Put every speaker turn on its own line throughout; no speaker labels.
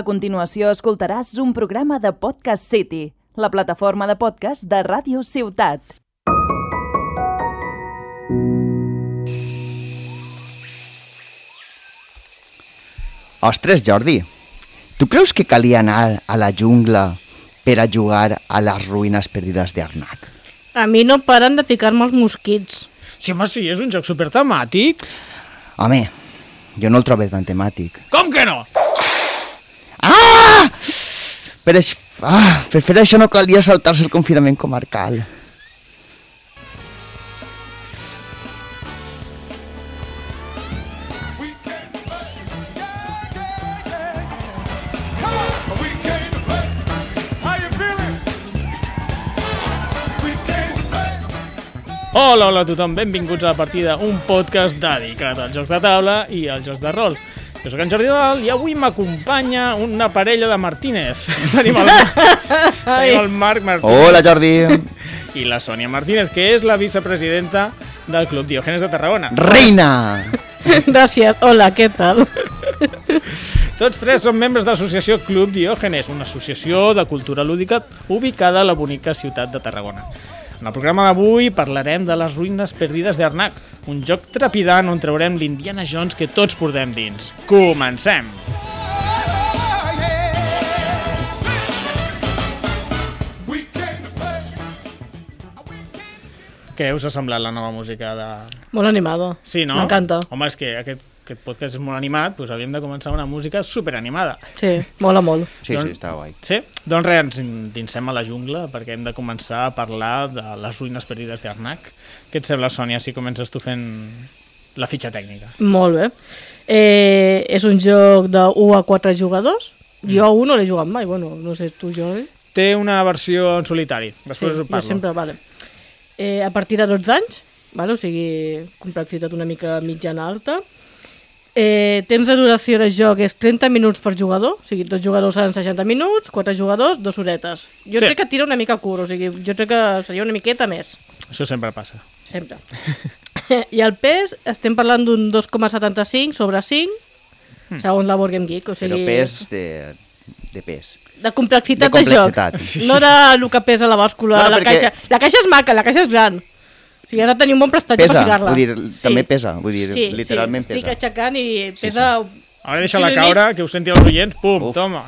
A continuació escoltaràs un programa de Podcast City, la plataforma de podcast de Ràdio Ciutat.
Ostres, Jordi, tu creus que calia anar a la jungla per a jugar a les ruïnes perdides d'Arnac?
A mi no paren de picar-me els mosquits.
Sí, home, sí, és un joc super temàtic.
Home, jo no el trobo tan temàtic.
Com que no?
Ah! Per, aix... ah, per fer això no calia saltar-se el confinament comarcal.
Hola, hola a tothom, benvinguts a la partida, un podcast dedicat als jocs de taula i als jocs de rol. Jo sóc en Jordi Dal i avui m'acompanya una parella de Martínez. Tenim el, tenim el Marc Martínez
Hola, Jordi.
i la Sònia Martínez, que és la vicepresidenta del Club Diògenes de Tarragona.
Reina!
Gràcies. Hola, què tal?
Tots tres són membres de l'associació Club Diògenes, una associació de cultura lúdica ubicada a la bonica ciutat de Tarragona. En el programa d'avui parlarem de les ruïnes perdides d'Arnac, un joc trepidant on traurem l'Indiana Jones que tots portem dins. Comencem! Què us ha semblat la nova música de...
Molt animado.
Sí, no?
M'encanta.
Home, és que aquest, aquest podcast és molt animat, doncs havíem de començar una música superanimada.
Sí, mola molt.
Sí, sí, està guai.
Sí? Doncs res, ens endinsem a la jungla perquè hem de començar a parlar de les ruïnes perdides d'Arnac. Què et sembla, Sònia, si comences tu fent la fitxa tècnica?
Molt bé. Eh, és un joc de 1 a 4 jugadors. Jo a 1 no l'he jugat mai, bueno, no sé tu, Jordi.
Té una versió en solitari, després us ho
jo
parlo.
sempre, vale. Eh, a partir de 12 anys, vale? o sigui, complexitat una mica mitjana alta. Eh, temps de duració de joc és 30 minuts per jugador, o sigui, dos jugadors seran 60 minuts, quatre jugadors, dues horetes. Jo
Sí.
sí. crec que tira una mica curt, o sigui, jo crec que seria una miqueta més,
Això sempre passa.
sempre. I el pes, estem parlant d'un 2,75 sobre 5,
Hmm.
segons la Board Game Geek, o sigui...
Però pes de, de pes.
De complexitat
De
de,
complexitat.
joc.
Sí.
No de lo que pesa la bàscula,
Bueno,
la
perquè-
caixa. La caixa és maca, la caixa és gran. O sigui, has de tenir un bon prestatge
Pesa,
per ficar-la.
vull dir, també pesa, vull dir, literalment
sí,
pesa.
Estic aixecant i pesa... Sí, sí.
Ara deixa-la caure, que us senti els oients, pum, Uf. toma.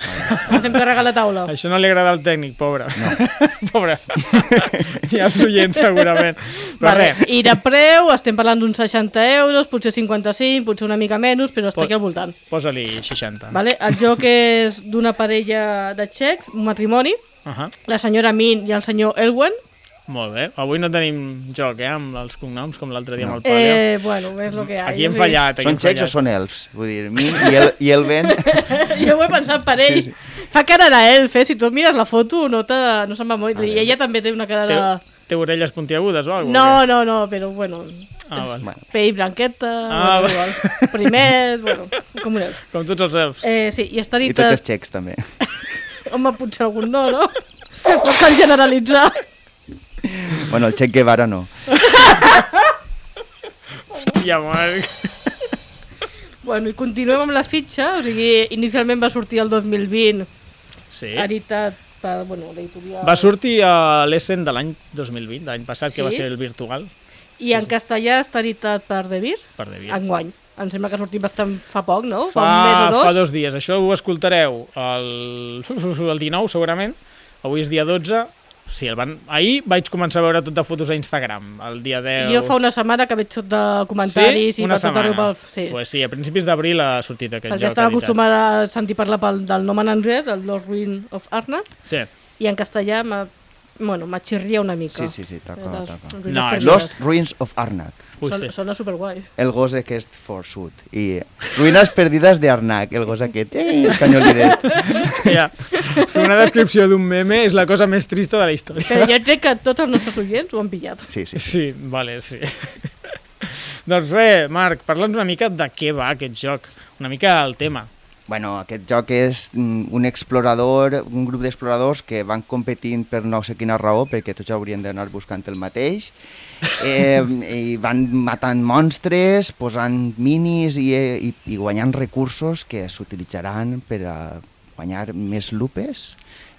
Fem carregar la taula.
Això no li agrada al tècnic, pobre. No. pobre. Hi ha els oients, segurament. Però vale. res,
I de preu estem parlant d'uns 60 euros, potser 55, potser una mica menys, però està
Pot-
aquí al voltant.
posa-li 60.
Vale? El joc és d'una parella de txecs, un matrimoni,
Uh -huh.
la senyora Min i el senyor Elwen.
Molt bé. Avui no tenim joc, eh, amb els cognoms, com l'altre dia no. amb el Pàlio.
Eh, bueno, és el que hi ha.
Aquí hem
o sigui,
fallat, aquí
Són
hem
xecs
Ah, fallat.
o són elfs? Vull dir, mi i el, i el vent...
Jo ho he pensat per ell. Sí, sí. Fa cara d'elf, eh? Si tu et mires la foto, no, te, no se'n va molt. I ella també té una cara de...
Té, té orelles puntiagudes o alguna
Ah. No, no, no, però bueno...
Ah, val.
Bueno,
Pell blanqueta,
Ah,
bueno,
va.
igual. primet, bueno, com un elf.
Com tots els elfs.
Eh, sí, i està
I
dit...
tots els xecs també.
Home, potser algun no, no? No cal generalitzar.
Bueno, el xec Guevara no.
Ja, Marc.
Bueno, i continuem amb la fitxa, o sigui, inicialment va sortir el 2020,
Sí.
editat per, bueno, l'editorial...
Eh? Va sortir a l'Essen de l'any 2020, de l'any passat, que
Sí?
va ser el virtual,
I en castellà està editat per Devir,
per de vida.
enguany. Em sembla que ha sortit bastant fa poc, no?
Fa,
un mes o dos.
fa dos dies. Això ho escoltareu el, el 19, segurament. Avui és dia 12. Sí, el van... Ahir vaig començar a veure tot de fotos a Instagram, el dia 10.
Jo fa una setmana que veig tot de comentaris
sí?
i
una
per tot
setmana.
arreu pel... Sí, pues,
Pues sí, a principis d'abril ha sortit aquest
perquè
joc.
estava
editat.
acostumada a sentir parlar pel, del nom en anglès, el Lost Ruin of Arna,
Sí.
i en castellà m'ha bueno, m'axirria una mica.
Sí, sí, sí, toca,
Les
toca.
ruïnes
No,
perdudes.
Lost Ruins of Arnak.
Ui,
Son,
sí.
Sona superguai.
el gos aquest forçut i ruïnes perdides d'Arnac, el gos aquest, eh, espanyolidet.
Ja. Fer una descripció d'un meme és la cosa més trista de la història.
Però jo crec que tots els nostres oients ho han pillat.
Sí, sí. sí.
Sí, vale, sí. doncs res, Marc, parla'ns una mica de què va aquest joc, una mica el tema.
Bueno, aquest joc és mm, un explorador, un grup d'exploradors que van competint per no sé quina raó, perquè tots haurien d'anar buscant el mateix, eh, i van matant monstres, eh, posant minis i, i, i guanyant recursos que s'utilitzaran per a guanyar més lupes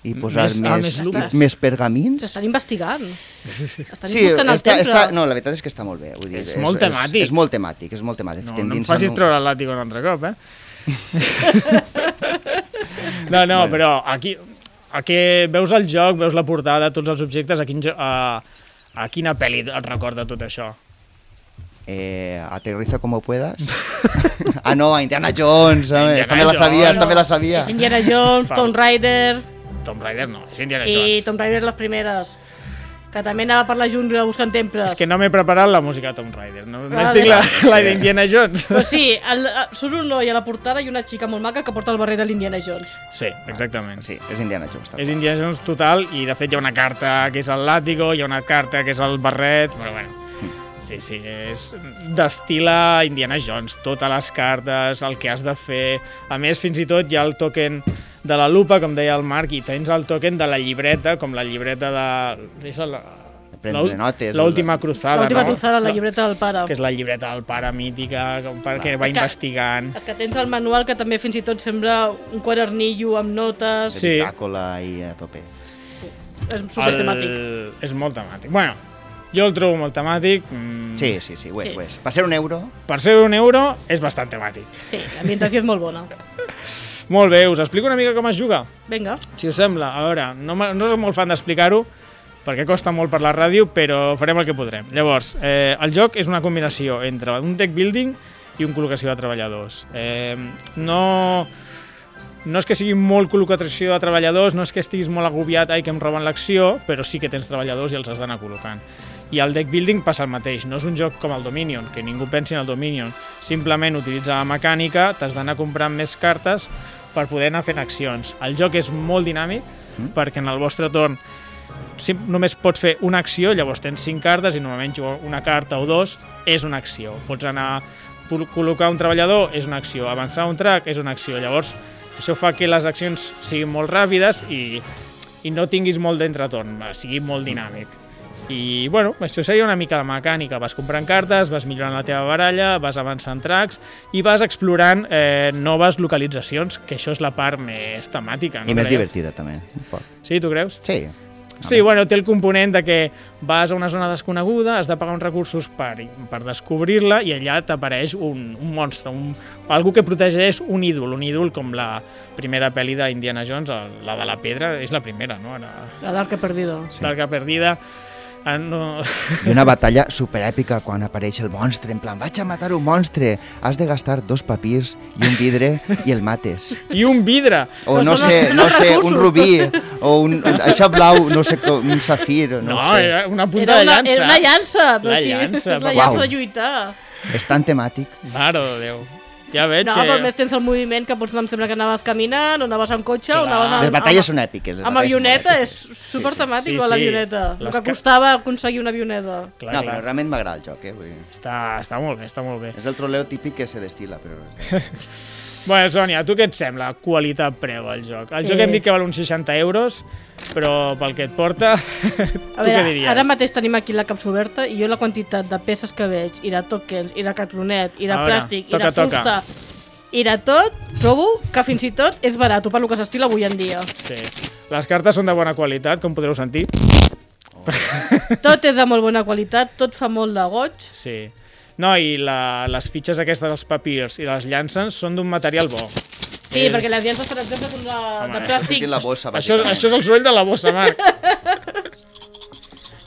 i
M-
posar
més-
més,
ah,
més,
més lupes.
i- més pergamins.
T'estan investigant. Estan
Sí,
buscant el
està,
temple.
està, no, la veritat és que està molt bé. Vull dir,
És molt temàtic.
És, és molt temàtic, és molt temàtic.
No, no em
T'endinsa
facis
en un-
treure el làtigo un altre cop, eh? no, no, però aquí, aquí veus el joc, veus la portada, tots els objectes, a, quin jo, a, a quina pel·li et recorda tot això?
Eh, aterriza como puedas. ah, no, a Indiana Jones, ¿sabes?
Indiana
Esta me la sabía,
Jones.
esta me la sabía.
És Indiana Jones,
Fa-
Tomb Raider...
Tomb Raider no, és Indiana
Sí,
Jones.
Tomb Raider les primeres. Que també anava per la jungla buscant temples.
És que no m'he preparat la música de Tomb Raider, no? només
Ah, Vale.
tinc la, la d'Indiana Jones.
Però sí, el, el- surt un noi a la portada i una xica molt maca que porta el barret de l'Indiana Jones.
Sí, exactament.
Sí, és Indiana Jones. tal
És
qual.
Indiana Jones total i de fet hi ha una carta que és el làtigo, hi ha una carta que és el barret, però bueno.
Mm.
Sí, sí, és d'estila Indiana Jones, totes les cartes, el que has de fer. A més, fins i tot hi ha el token de la lupa, com deia el Marc, i tens el token de la llibreta, com la llibreta de... És la...
De prendre notes,
L'última
o de-
cruzada,
L'última
no?
cruzada, la
No,
llibreta del pare.
Que és la llibreta del pare mítica, com perquè va
Ah. És que-
investigant.
És que tens el manual que també fins i tot sembla un quadernillo amb notes.
Sí.
Bitácola i a tope.
És super temàtic.
El... És molt temàtic. Bueno, jo el trobo molt temàtic. Mm,
Sí, sí, sí, ho és,
Sí.
ho és. Va ser un euro.
Per ser un euro és bastant temàtic.
Sí, l'ambientació és molt bona.
Molt bé, us explico una mica com es juga,
Vinga.
si us sembla. A veure, no, me- no soc molt fan d'explicar-ho, perquè costa molt per la ràdio, però farem el que podrem. Llavors, eh, el joc és una combinació entre un deck building i un col·locació de treballadors. Eh, no, no és que sigui molt col·locació de treballadors, no és que estiguis molt agobiat, ai, que em roben l'acció, però sí que tens treballadors i els has d'anar col·locant. I el deck building passa el mateix, no és un joc com el Dominion, que ningú pensi en el Dominion. Simplement utilitza la mecànica, t'has d'anar comprant més cartes per poder anar fent accions. El joc és molt dinàmic, mm. perquè en el vostre torn sim- només pots fer una acció, llavors tens cinc cartes i normalment jugar una carta o dos és una acció. Pots anar pol- col·locar un treballador, és una acció, avançar un track, és una acció. Llavors, això fa que les accions siguin molt ràpides i, i no tinguis molt d'entretorn, eh, sigui molt dinàmic. I, bueno, això seria una mica la mecànica. Vas comprant cartes, vas millorant la teva baralla, vas avançant tracks i vas explorant eh, noves localitzacions, que això és la part més temàtica.
I més
Andrea?
divertida, també. un poc.
Sí, tu creus?
Sí.
Sí, bueno, té el component de que vas a una zona desconeguda, has de pagar uns recursos per, per descobrir-la i allà t'apareix un, un monstre, un, algú que protegeix un ídol, un ídol com la primera pel·li d'Indiana Jones, el- la de la pedra, és la primera, no? Ara,
La d'Arca Perdido.
sí. L'arca perdida... Ah, no...
I una batalla superèpica quan apareix el monstre, en plan, vaig a matar un monstre, has de gastar dos papirs i un vidre i el mates.
I un vidre!
O
Però
no
són
sé,
els-
no
els
sé, un
recursos.
rubí, o un, un això blau, no sé, com, un safir, no,
No, eh.
no sé.
era una punta
Era
de
una,
llança.
era una llança, però
La
sí,
llança,
és la
però-
llança
Uau.
de lluitar.
És tan temàtic.
Mare de Déu. Ja veig
No,
que...
però més tens el moviment que pots anar, em sembla que anaves caminant, o anaves amb cotxe, o
Clar.
anaves amb...
Les batalles
amb,
són èpiques. les
amb
batalles són
avioneta, és
èpiques.
super temàtic,
Sí,
sí, sí.
sí.
l'avioneta.
Les
El que
ca-
costava aconseguir una avioneta.
Clar,
No,
clar.
però realment m'agrada el joc, eh? Vull dir,
Està, està molt bé, està molt bé.
és el troleo típic que se destila, però...
Bueno, Sònia, a tu què et sembla qualitat-preu el joc? El joc
Eh.
hem dit que val uns 60 euros, però pel que et porta,
A
tu què
veure,
diries?
ara mateix tenim aquí la capsa oberta i jo la quantitat de peces que veig, i de tokens, i de cartonet, i de
A veure,
plàstic, i de
toca, toca.
fusta, i de tot, trobo que fins i tot és barat, per lo que s'estila avui en dia.
Sí. Les cartes són de bona qualitat, com podreu sentir.
Tot és de molt bona qualitat, tot fa molt de goig.
Sí. No, i la, les fitxes aquestes dels papirs i les llances són d'un material bo.
Sí,
És-
perquè les llances, per exemple, són de,
Home,
de
Tinc
plàstic.
la bossa,
Això,
bàsicament.
això és el soroll de la bossa, Marc.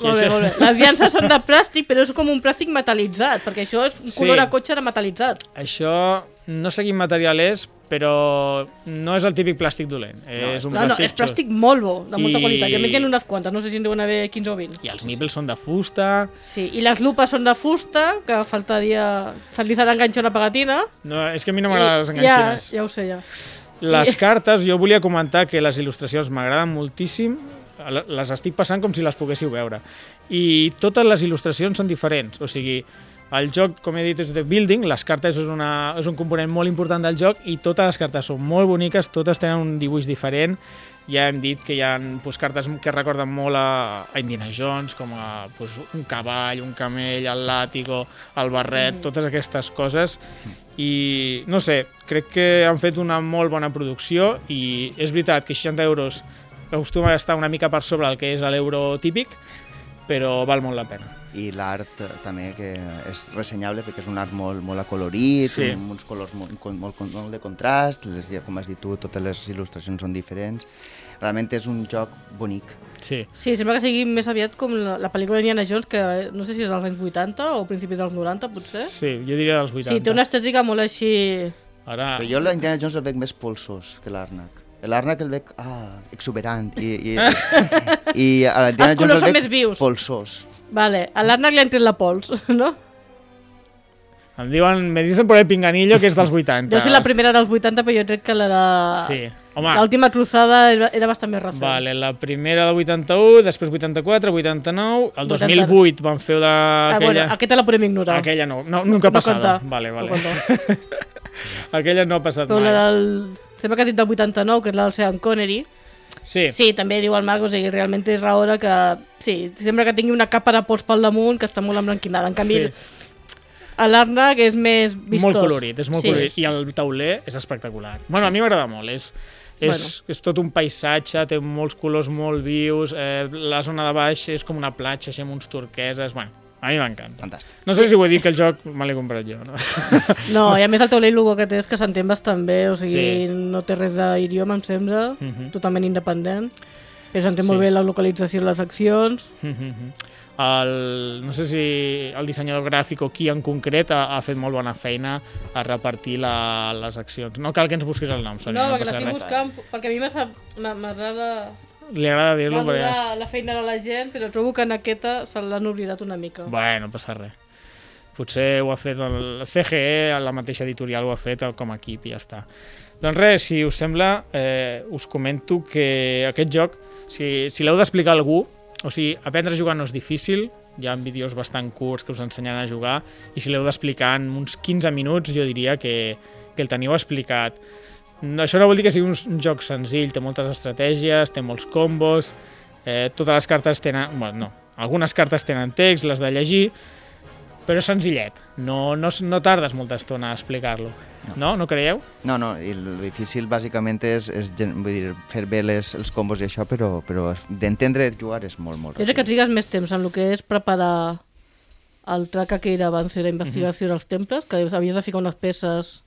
Molt bé, molt bé. Les llances són de plàstic, però és com un plàstic metalitzat, perquè això és un
Sí.
color a cotxe de metalitzat.
Això, no sé quin material és, però no és el típic plàstic dolent. és un
No, no,
plàstic
és
xust.
plàstic molt bo, de molta
I-
qualitat. Jo m'he quedat unes quantes, no sé si en deuen haver 15 o 20.
I els nipples són de fusta,
Sí, i les lupes són de fusta, que faltaria... Se li s'ha d'enganxar una pegatina.
No, és que a mi no m'agraden les
I-
enganxines.
Ja, ja ho sé, ja.
Les cartes, jo volia comentar que les il·lustracions m'agraden moltíssim, L- les estic passant com si les poguéssiu veure. I totes les il·lustracions són diferents, o sigui, el joc, com he dit, és de building, les cartes és, una, és un component molt important del joc i totes les cartes són molt boniques, totes tenen un dibuix diferent, ja hem dit que hi ha pues, cartes que recorden molt a, a Indiana Jones, com a, pues, un cavall, un camell, el làtigo, el barret, mm. totes aquestes coses. I no sé, crec que han fet una molt bona producció i és veritat que 60 euros acostuma a estar una mica per sobre el que és l'euro típic, però val molt la pena.
i l'art eh, també que és ressenyable perquè és un art molt, molt acolorit,
Sí.
sí. amb uns colors molt, con- molt, con- molt de contrast, les, dia- com has dit tu, totes les il·lustracions són diferents. Realment és un joc bonic.
Sí.
Sí, sembla que sigui més aviat com la, la pel·lícula d'Indiana Jones, que eh, no sé si és dels anys 80 o principis dels 90, potser.
Sí, jo diria dels
Eh?
80.
Sí, té una estètica molt així...
Ara...
Però jo l'Indiana Jones el veig més polsós que l'Arnac. L'Arnac el veig ah, exuberant i, i, i a l'Indiana
Els colors
Jones
són
el
més
veig
vius.
polsós.
Vale, a l'Arnac li han tret la pols, no?
Em diuen, me dicen por el pinganillo que és dels 80.
Deu ser la primera dels 80, però jo crec que la de...
Sí. Home,
L'última cruzada era, era bastant més recent.
Vale, la primera del 81, després 84, 89, el
80.
2008 van fer de...
Ah, bueno,
aquella...
aquesta la podem ignorar.
aquella no, no nunca
No
passada.
compta.
vale, vale.
No compta.
aquella no ha passat
Però
mai.
la del... Sembla que has dit del 89, que és la del Sean Connery.
Sí,
Sí, també diu el Marc, o sigui, realment és la hora que... Sí, sembla que tingui una capa de pols pel damunt que està molt emblanquinada. En canvi,
Sí.
sí. l'Arna, que és més vistós.
molt colorit, és molt
sí.
colorit. I el tauler és espectacular. Bueno, a mi m'agrada molt, és, és, bueno. és tot un paisatge, té molts colors molt vius, eh, la zona de baix és com una platja, així amb uns turqueses, bueno, a mi m'encanta.
Fantàstic.
No sé si ho he dit, que el joc me l'he comprat jo. No?
No, i a més el taulell el bo que té és que s'entén bastant bé, o sigui,
Sí.
no té res d'idioma, em sembla,
Mhm.
totalment independent. Però s'entén
Sí.
molt bé la localització de les accions.
El, no sé si el dissenyador gràfic o qui en concret ha, ha fet molt bona feina a repartir la, les accions. No cal que ens busquis el nom, Sònia.
No, perquè
passa
l'estic
res.
buscant, perquè a mi m'ha- m'ha- m'agrada
Li agrada dir-lo, però...
valorar la feina de la gent, però trobo que en aquesta se l'han oblidat una mica.
Bueno, no passa res. Potser ho ha fet el CGE, la mateixa editorial ho ha fet com a equip i ja està. Doncs res, si us sembla, eh, us comento que aquest joc, si, si l'heu d'explicar a algú, o sigui, aprendre a jugar no és difícil, hi ha vídeos bastant curts que us ensenyen a jugar, i si l'heu d'explicar en uns 15 minuts, jo diria que, que el teniu explicat. No, això no vol dir que sigui un, s- un joc senzill, té moltes estratègies, té molts combos, eh, totes les cartes tenen... Bueno, no, algunes cartes tenen text, les de llegir, però és senzillet, no, no, s- no tardes molta estona a explicar-lo. No. no? No creieu?
No, no, i el difícil bàsicament és, és gen- vull dir, fer bé les, els combos i això, però, però d'entendre i jugar és molt, molt
Jo crec que trigues més temps en el que és preparar el traca que era abans, era
Mhm.
investigació dels temples, que havies de ficar unes peces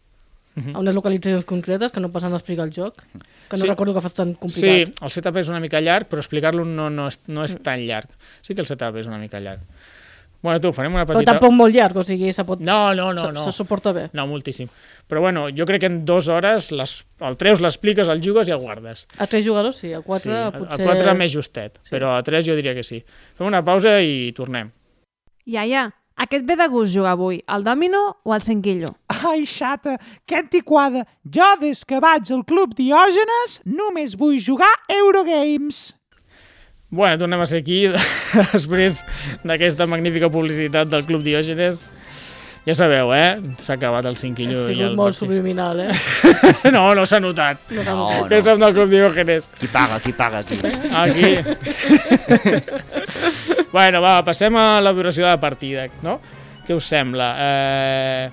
a unes localitzacions concretes que no passen a explicar el joc, que no
Sí.
recordo que fas tan
Sí,
complicat.
el setup és una mica llarg, però explicar-lo no, no, és, no és tan llarg. Sí que el setup és una mica llarg. Bueno, tu, farem una
Però
petita...
tampoc molt llarg, o sigui, se, pot,
No, no, no,
se,
no.
se suporta bé.
No, moltíssim. Però bueno, jo crec que en dues hores les, el treus, l'expliques, el jugues i el guardes.
A tres jugadors sí, a quatre
sí, a-
potser...
A quatre més justet, sí.
Sí.
però a tres jo diria que sí. Fem una pausa i tornem.
Iaia, aquest ve de gust jugar avui, al dòmino o al cinquillo?
Ai, xata, que antiquada! Jo, des que vaig al Club Diògenes, només vull jugar Eurogames.
Bueno, tornem a ser aquí després d'aquesta magnífica publicitat del Club Diògenes. Ja sabeu, eh? S'ha acabat el
Ha
cinquillo i
sigut
el
molt
Baxi.
subliminal, eh?
No, no s'ha notat.
No,
No,
no.
Que som del Club Diògenes.
Qui paga, qui paga, qui
Aquí. bueno, va, passem a la duració de la partida, no? Què us sembla? Eh...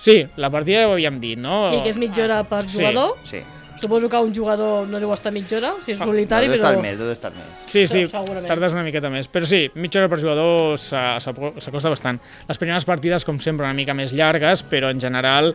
Sí, la partida ja ho havíem dit, no?
Sí, que és mitja hora per
Sí.
jugador.
Sí.
Suposo que un jugador no deu estar mitja hora, si és
Deu
solitari,
d'estar
però...
més, deu d'estar més.
Sí, sí,
Segurament.
tardes una miqueta més. Però sí, mitja hora per jugador s'a- s'apo- s'acosta bastant. Les primeres partides, com sempre, una mica més llargues, però en general,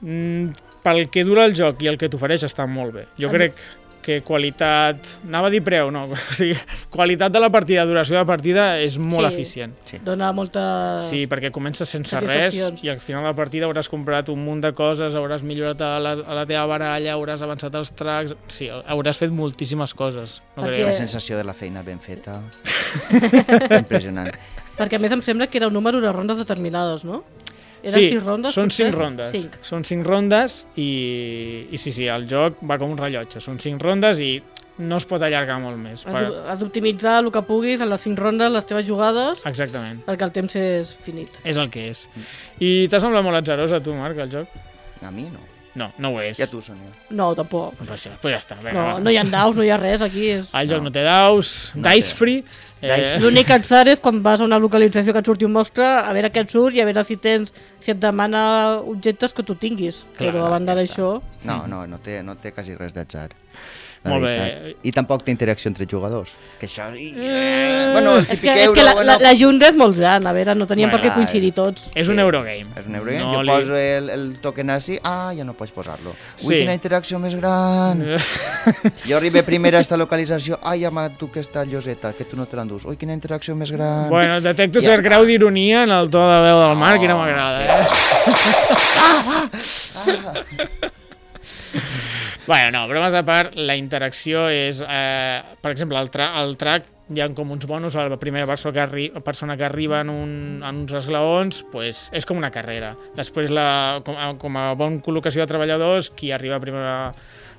mm, pel que dura el joc i el que t'ofereix està molt bé. Jo
A mi-
crec que qualitat... Anava a dir preu, no. O sigui, qualitat de la partida, duració de la partida, és molt
Sí.
eficient.
Dona molta...
Sí, perquè comences sense res
satisfaccions.
i al final de la partida hauràs comprat un munt de coses, hauràs millorat a la, a la teva baralla, hauràs avançat els tracks... Sí, hauràs fet moltíssimes coses. No
Perquè-
creieu?
La sensació de la feina ben feta. Impressionant.
Perquè a més em sembla que era un número de rondes determinades, no? Eren
sí,
sis rondes?
són
potser?
cinc rondes.
Cinc.
Són cinc rondes i, i sí, sí, el joc va com un rellotge. Són cinc rondes i no es pot allargar molt més.
Has d'o- Has d'optimitzar el que puguis en les cinc rondes, les teves jugades,
Ah. Exactament.
perquè el temps és finit.
Mm.
És el que és. I t'ha semblat molt atzarós a tu, Marc, el joc?
A mi no.
No, no ho és.
Ja tu, Sonia.
No, tampoc.
Però, això, però ja està. Vinga,
No,
va.
no hi ha daus, no hi ha res, aquí és...
El joc no, té daus, dice
té.
free. eh,
Dice free.
L'únic que et sar és quan vas a una localització que et surti un mostre, a veure què et surt i a veure si tens, si et demana objectes que tu tinguis.
Clar,
Però a banda
ja
d'això...
No, no, no té, no té quasi res d'atzar. la
Molt bé.
veritat. I tampoc té interacció entre jugadors. Que això...
Eh,
Bueno, el
És
típic
que, és que la,
euro,
la,
bueno,
la Junta és molt gran, a veure, no teníem
Bueno,
per
ah, eh.
què
clar,
coincidir tots.
És un
Sí.
Eurogame.
És un Eurogame,
No
jo
li-
poso el, el toque nazi, ah, ja no pots posar-lo. Ui,
Sí. Eh.
quina interacció més gran! Jo arribo primer a esta localització, ai, ama, tu que està lloseta, que tu no te l'endús. Ui, quina interacció més gran!
Bueno, detecto
Ja
cert
està.
grau d'ironia en el to de veu del Marc, i no m'agrada, eh? Bueno, no, bromes a part, la interacció és... Eh, per exemple, el, tra el track hi ha com uns bonus, a la primera persona que, arri persona que arriba en, un, en uns esglaons pues, és com una carrera. Després, la, com, a, com a bon col·locació de treballadors, qui arriba primer a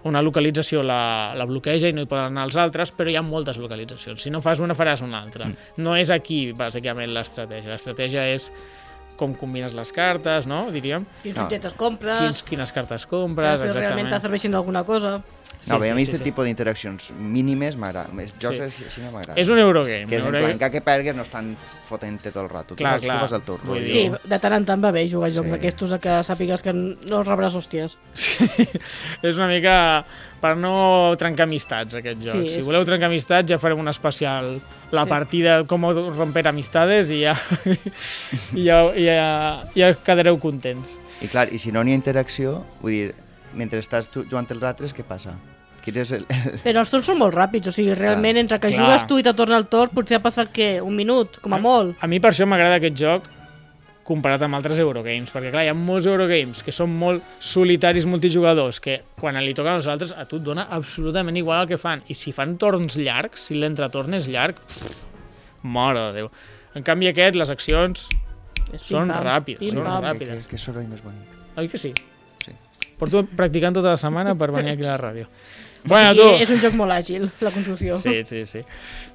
una localització la, la bloqueja i no hi poden anar els altres, però hi ha moltes localitzacions. Si no fas una, faràs una altra. Mm. No és aquí, bàsicament, l'estratègia. L'estratègia és com combines les cartes, no?, diríem.
Quins
No.
objectes compres,
Quins, quines cartes compres,
que Ah. realment
exactament.
te serveixin alguna cosa.
no, bé, a mi aquest tipus d'interaccions mínimes m'agrada. més Jocs
Sí.
sí. així no m'agrada.
És un Eurogame.
Que és en
Eurogame.
plan, que, que pergues no estan fotent-te tot el rato.
Clar,
tu vas-
clar.
Tu vas al turno.
Vull
i-
Sí.
Sí, de tant en tant va bé jugar a jocs
Sí.
sí. d'aquestos a que sàpigues que no rebràs hòsties.
Sí, és una mica per no trencar amistats, aquest joc.
Sí,
Sí, si
és-
voleu trencar amistats, ja farem un especial. La
Sí.
partida com romper amistades i ja, i ja, i ja, ja quedareu contents.
I clar, i si no n'hi ha interacció, vull dir, mentre estàs tu jugant els altres, què passa? Quin és el...
Però els torns són molt ràpids, o sigui, realment, entre que
Clar. Eh?
jugues tu i te torna el torn, potser ha passat, què, un minut, com a molt?
A mi per això m'agrada aquest joc comparat amb altres Eurogames, perquè clar, hi ha molts Eurogames que són molt solitaris multijugadors, que quan li toquen als altres a tu et dona absolutament igual el que fan. I si fan torns llargs, si l'entretorn és llarg, pff, mare de Déu. En canvi aquest, les accions
És
Són
pim-pam,
ràpids, són
pim-pam.
ràpids.
Que, que soroll més bonic.
Oi que sí?
Sí.
Porto practicant tota la setmana per venir aquí a la ràdio. Bueno,
I és
tu...
un joc molt àgil, la conclusió.
Sí, sí, sí.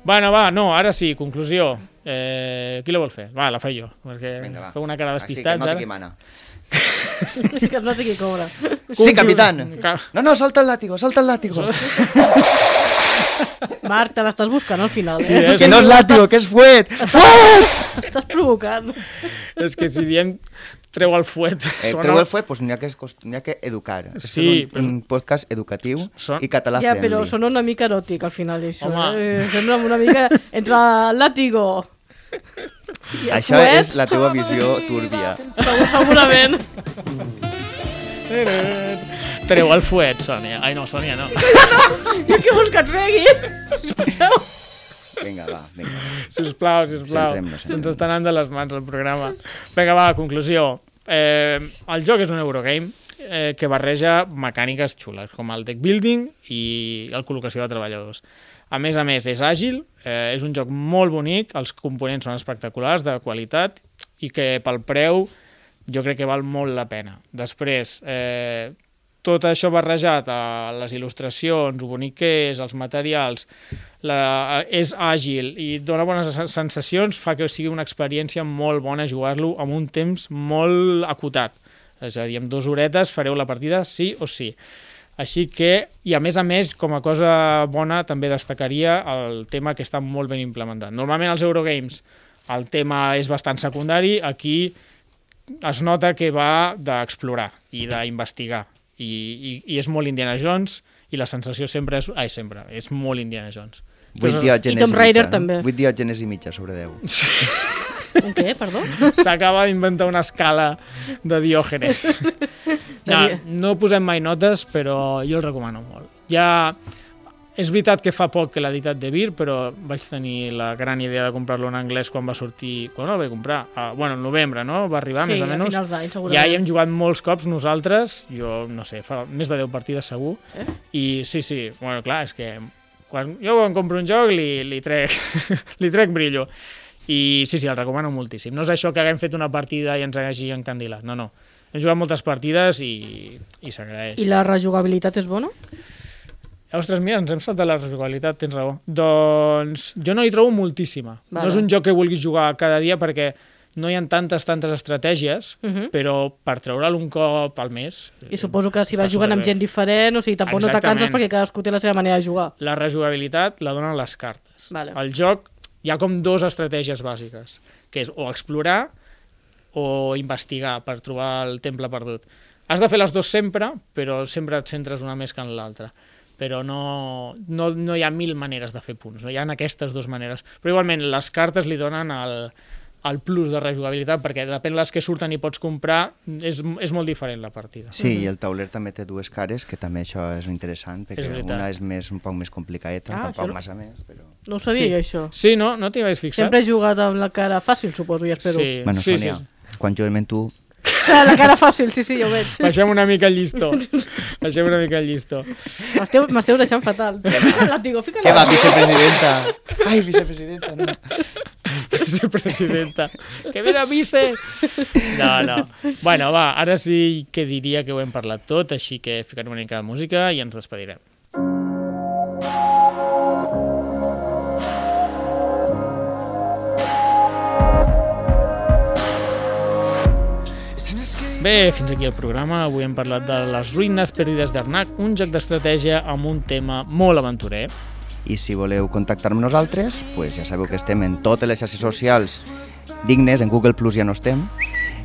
Bueno, va, no, ara sí, conclusió. Eh, qui la vol fer? Va, la faig jo, perquè
Vinga, va.
feu una cara
Així que
despistats
no té qui
ara.
mana.
que no té qui cobra.
Sí, capitán!
Ca-
No, no, salta el látigo, salta el látigo.
Marc, te l'estàs buscant al final,
Sí,
eh?
eh?
que no és látigo, que és fuet! Fuet!
Estàs provocant.
És que si diem treu el fuet,
Eh, treu el fuet, doncs n'hi ha, que, cost- n'hi ha que educar. Aquest
Sí,
és un,
però-
un podcast educatiu
Són-
i català
ja,
friendly.
però sona una mica eròtic al final, això.
Home.
Eh? Sembla una mica entre làtigo. i el
Això
fuet.
és la teva visió túrbia.
Segur, segurament.
Treu el fuet, Sònia. Ai, no, Sònia, no.
Jo què vols que et regui?
Vinga, va, vinga.
Sisplau, sisplau.
Centrem-nos,
Ens
centrem-nos.
està anant de les mans el programa. Vinga, va, conclusió. Eh, el joc és un Eurogame eh, que barreja mecàniques xules, com el deck building i la col·locació de treballadors. A més a més, és àgil, eh, és un joc molt bonic, els components són espectaculars, de qualitat, i que pel preu jo crec que val molt la pena. Després, eh, tot això barrejat a les il·lustracions, ho bonic que és, els materials, la, és àgil i et dona bones sen- sensacions, fa que sigui una experiència molt bona jugar-lo amb un temps molt acotat. És a dir, en dues horetes fareu la partida sí o sí. Així que, i a més a més, com a cosa bona, també destacaria el tema que està molt ben implementat. Normalment als Eurogames el tema és bastant secundari, aquí es nota que va d'explorar i d'investigar. I, i, I és molt Indiana Jones i la sensació sempre és... Ai, sempre. És molt Indiana Jones.
Vuit diògenes
I Tomb Raider
mitja, no?
també.
Vuit diògenes i mitja sobre deu.
Un què, perdó?
S'acaba d'inventar una escala de diògenes. No, no posem mai notes, però jo el recomano molt. Ja... És veritat que fa poc que l'ha editat De Vir, però vaig tenir la gran idea de comprar-lo en anglès quan va sortir... Quan el vaig comprar? Uh, bueno, en novembre, no? Va arribar,
sí,
més o
a
menys.
finals d'any, segurament.
Ja hi hem jugat molts cops nosaltres, jo no sé, fa més de 10 partides segur, eh? i sí, sí, bueno, clar, és que quan, jo quan compro un joc li, li, trec, li trec brillo. I sí, sí, el recomano moltíssim. No és això que haguem fet una partida i ens hagi encandilat, no, no. Hem jugat moltes partides i, i s'agraeix.
I la rejugabilitat és bona?
Ostres, mira, ens hem saltat la rejugabilitat, tens raó. Doncs jo no hi trobo moltíssima.
Vale.
No és un joc que vulguis jugar cada dia perquè no hi ha tantes, tantes estratègies, uh -huh.
Mhm.
però per treure'l un cop al mes...
I suposo que si vas
està
jugant amb
superbé.
gent diferent, o sigui, tampoc no te canses
Exactament.
perquè cadascú té la seva manera de jugar.
La rejugabilitat la donen les cartes.
Vale.
Al joc hi ha com dues estratègies bàsiques, que és o explorar o investigar per trobar el temple perdut. Has de fer les dues sempre, però sempre et centres una més que en l'altra. Però no, no, no hi ha mil maneres de fer punts, no hi ha aquestes dues maneres. Però igualment, les cartes li donen el, el plus de rejugabilitat, perquè depèn les que surten i pots comprar, és, és molt diferent la partida.
Sí, i el tauler també té dues cares, que també això és interessant, perquè
És veritat.
una és més, un poc més complicadeta,
Ah,
ah,
això
tampoc
no-
massa més, però...
No ho sabia
sí.
jo, això.
Sí, no? No t'hi vaig fixar?
Sempre he jugat amb la cara fàcil, suposo, i espero.
Sí,
Bueno,
sí,
Sònia,
sí.
quan juguem amb tu...
La cara fàcil, sí, sí, ja ho veig.
Baixem una mica el llistó. Baixem una mica el llistó.
M'esteu m'esteu deixant fatal. Fica-la, digo, fica-la.
Què va, vicepresidenta? Ai, vicepresidenta, no.
Vicepresidenta. Que ve la vice! No, no. Bueno, va, ara sí que diria que ho hem parlat tot, així que ficarem una mica de música i ens despedirem. Bé, fins aquí el programa. Avui hem parlat de Les ruïnes perdides d'Arnac, un joc d'estratègia amb un tema molt aventurer.
I si voleu contactar-me amb nosaltres, pues ja sabeu que estem en totes les xarxes socials dignes, en Google Plus ja no estem,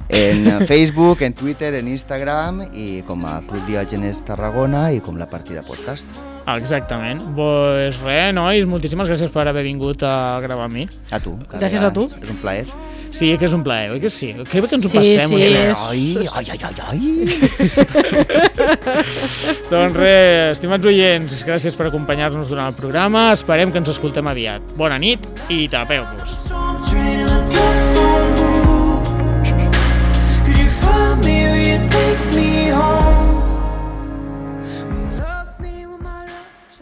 en Facebook, en Twitter, en Instagram i com a Club Diògenes Tarragona i com la partida podcast.
Exactament. Doncs res, nois, moltíssimes gràcies per haver vingut a gravar amb mi.
A tu. cada
Gràcies a
vegada.
tu.
És un plaer.
Sí, que és un plaer, oi que sí? Que bé que ens ho
Sí,
passem.
sí,
oi?
és-
Ai, ai, ai, ai, ai.
Doncs res, estimats oients, gràcies per acompanyar-nos durant el programa. Esperem que ens escoltem aviat. Bona nit i tapeu-vos.
Storm train on top of moon. Could you find me? Will you take me home? Love me with my love.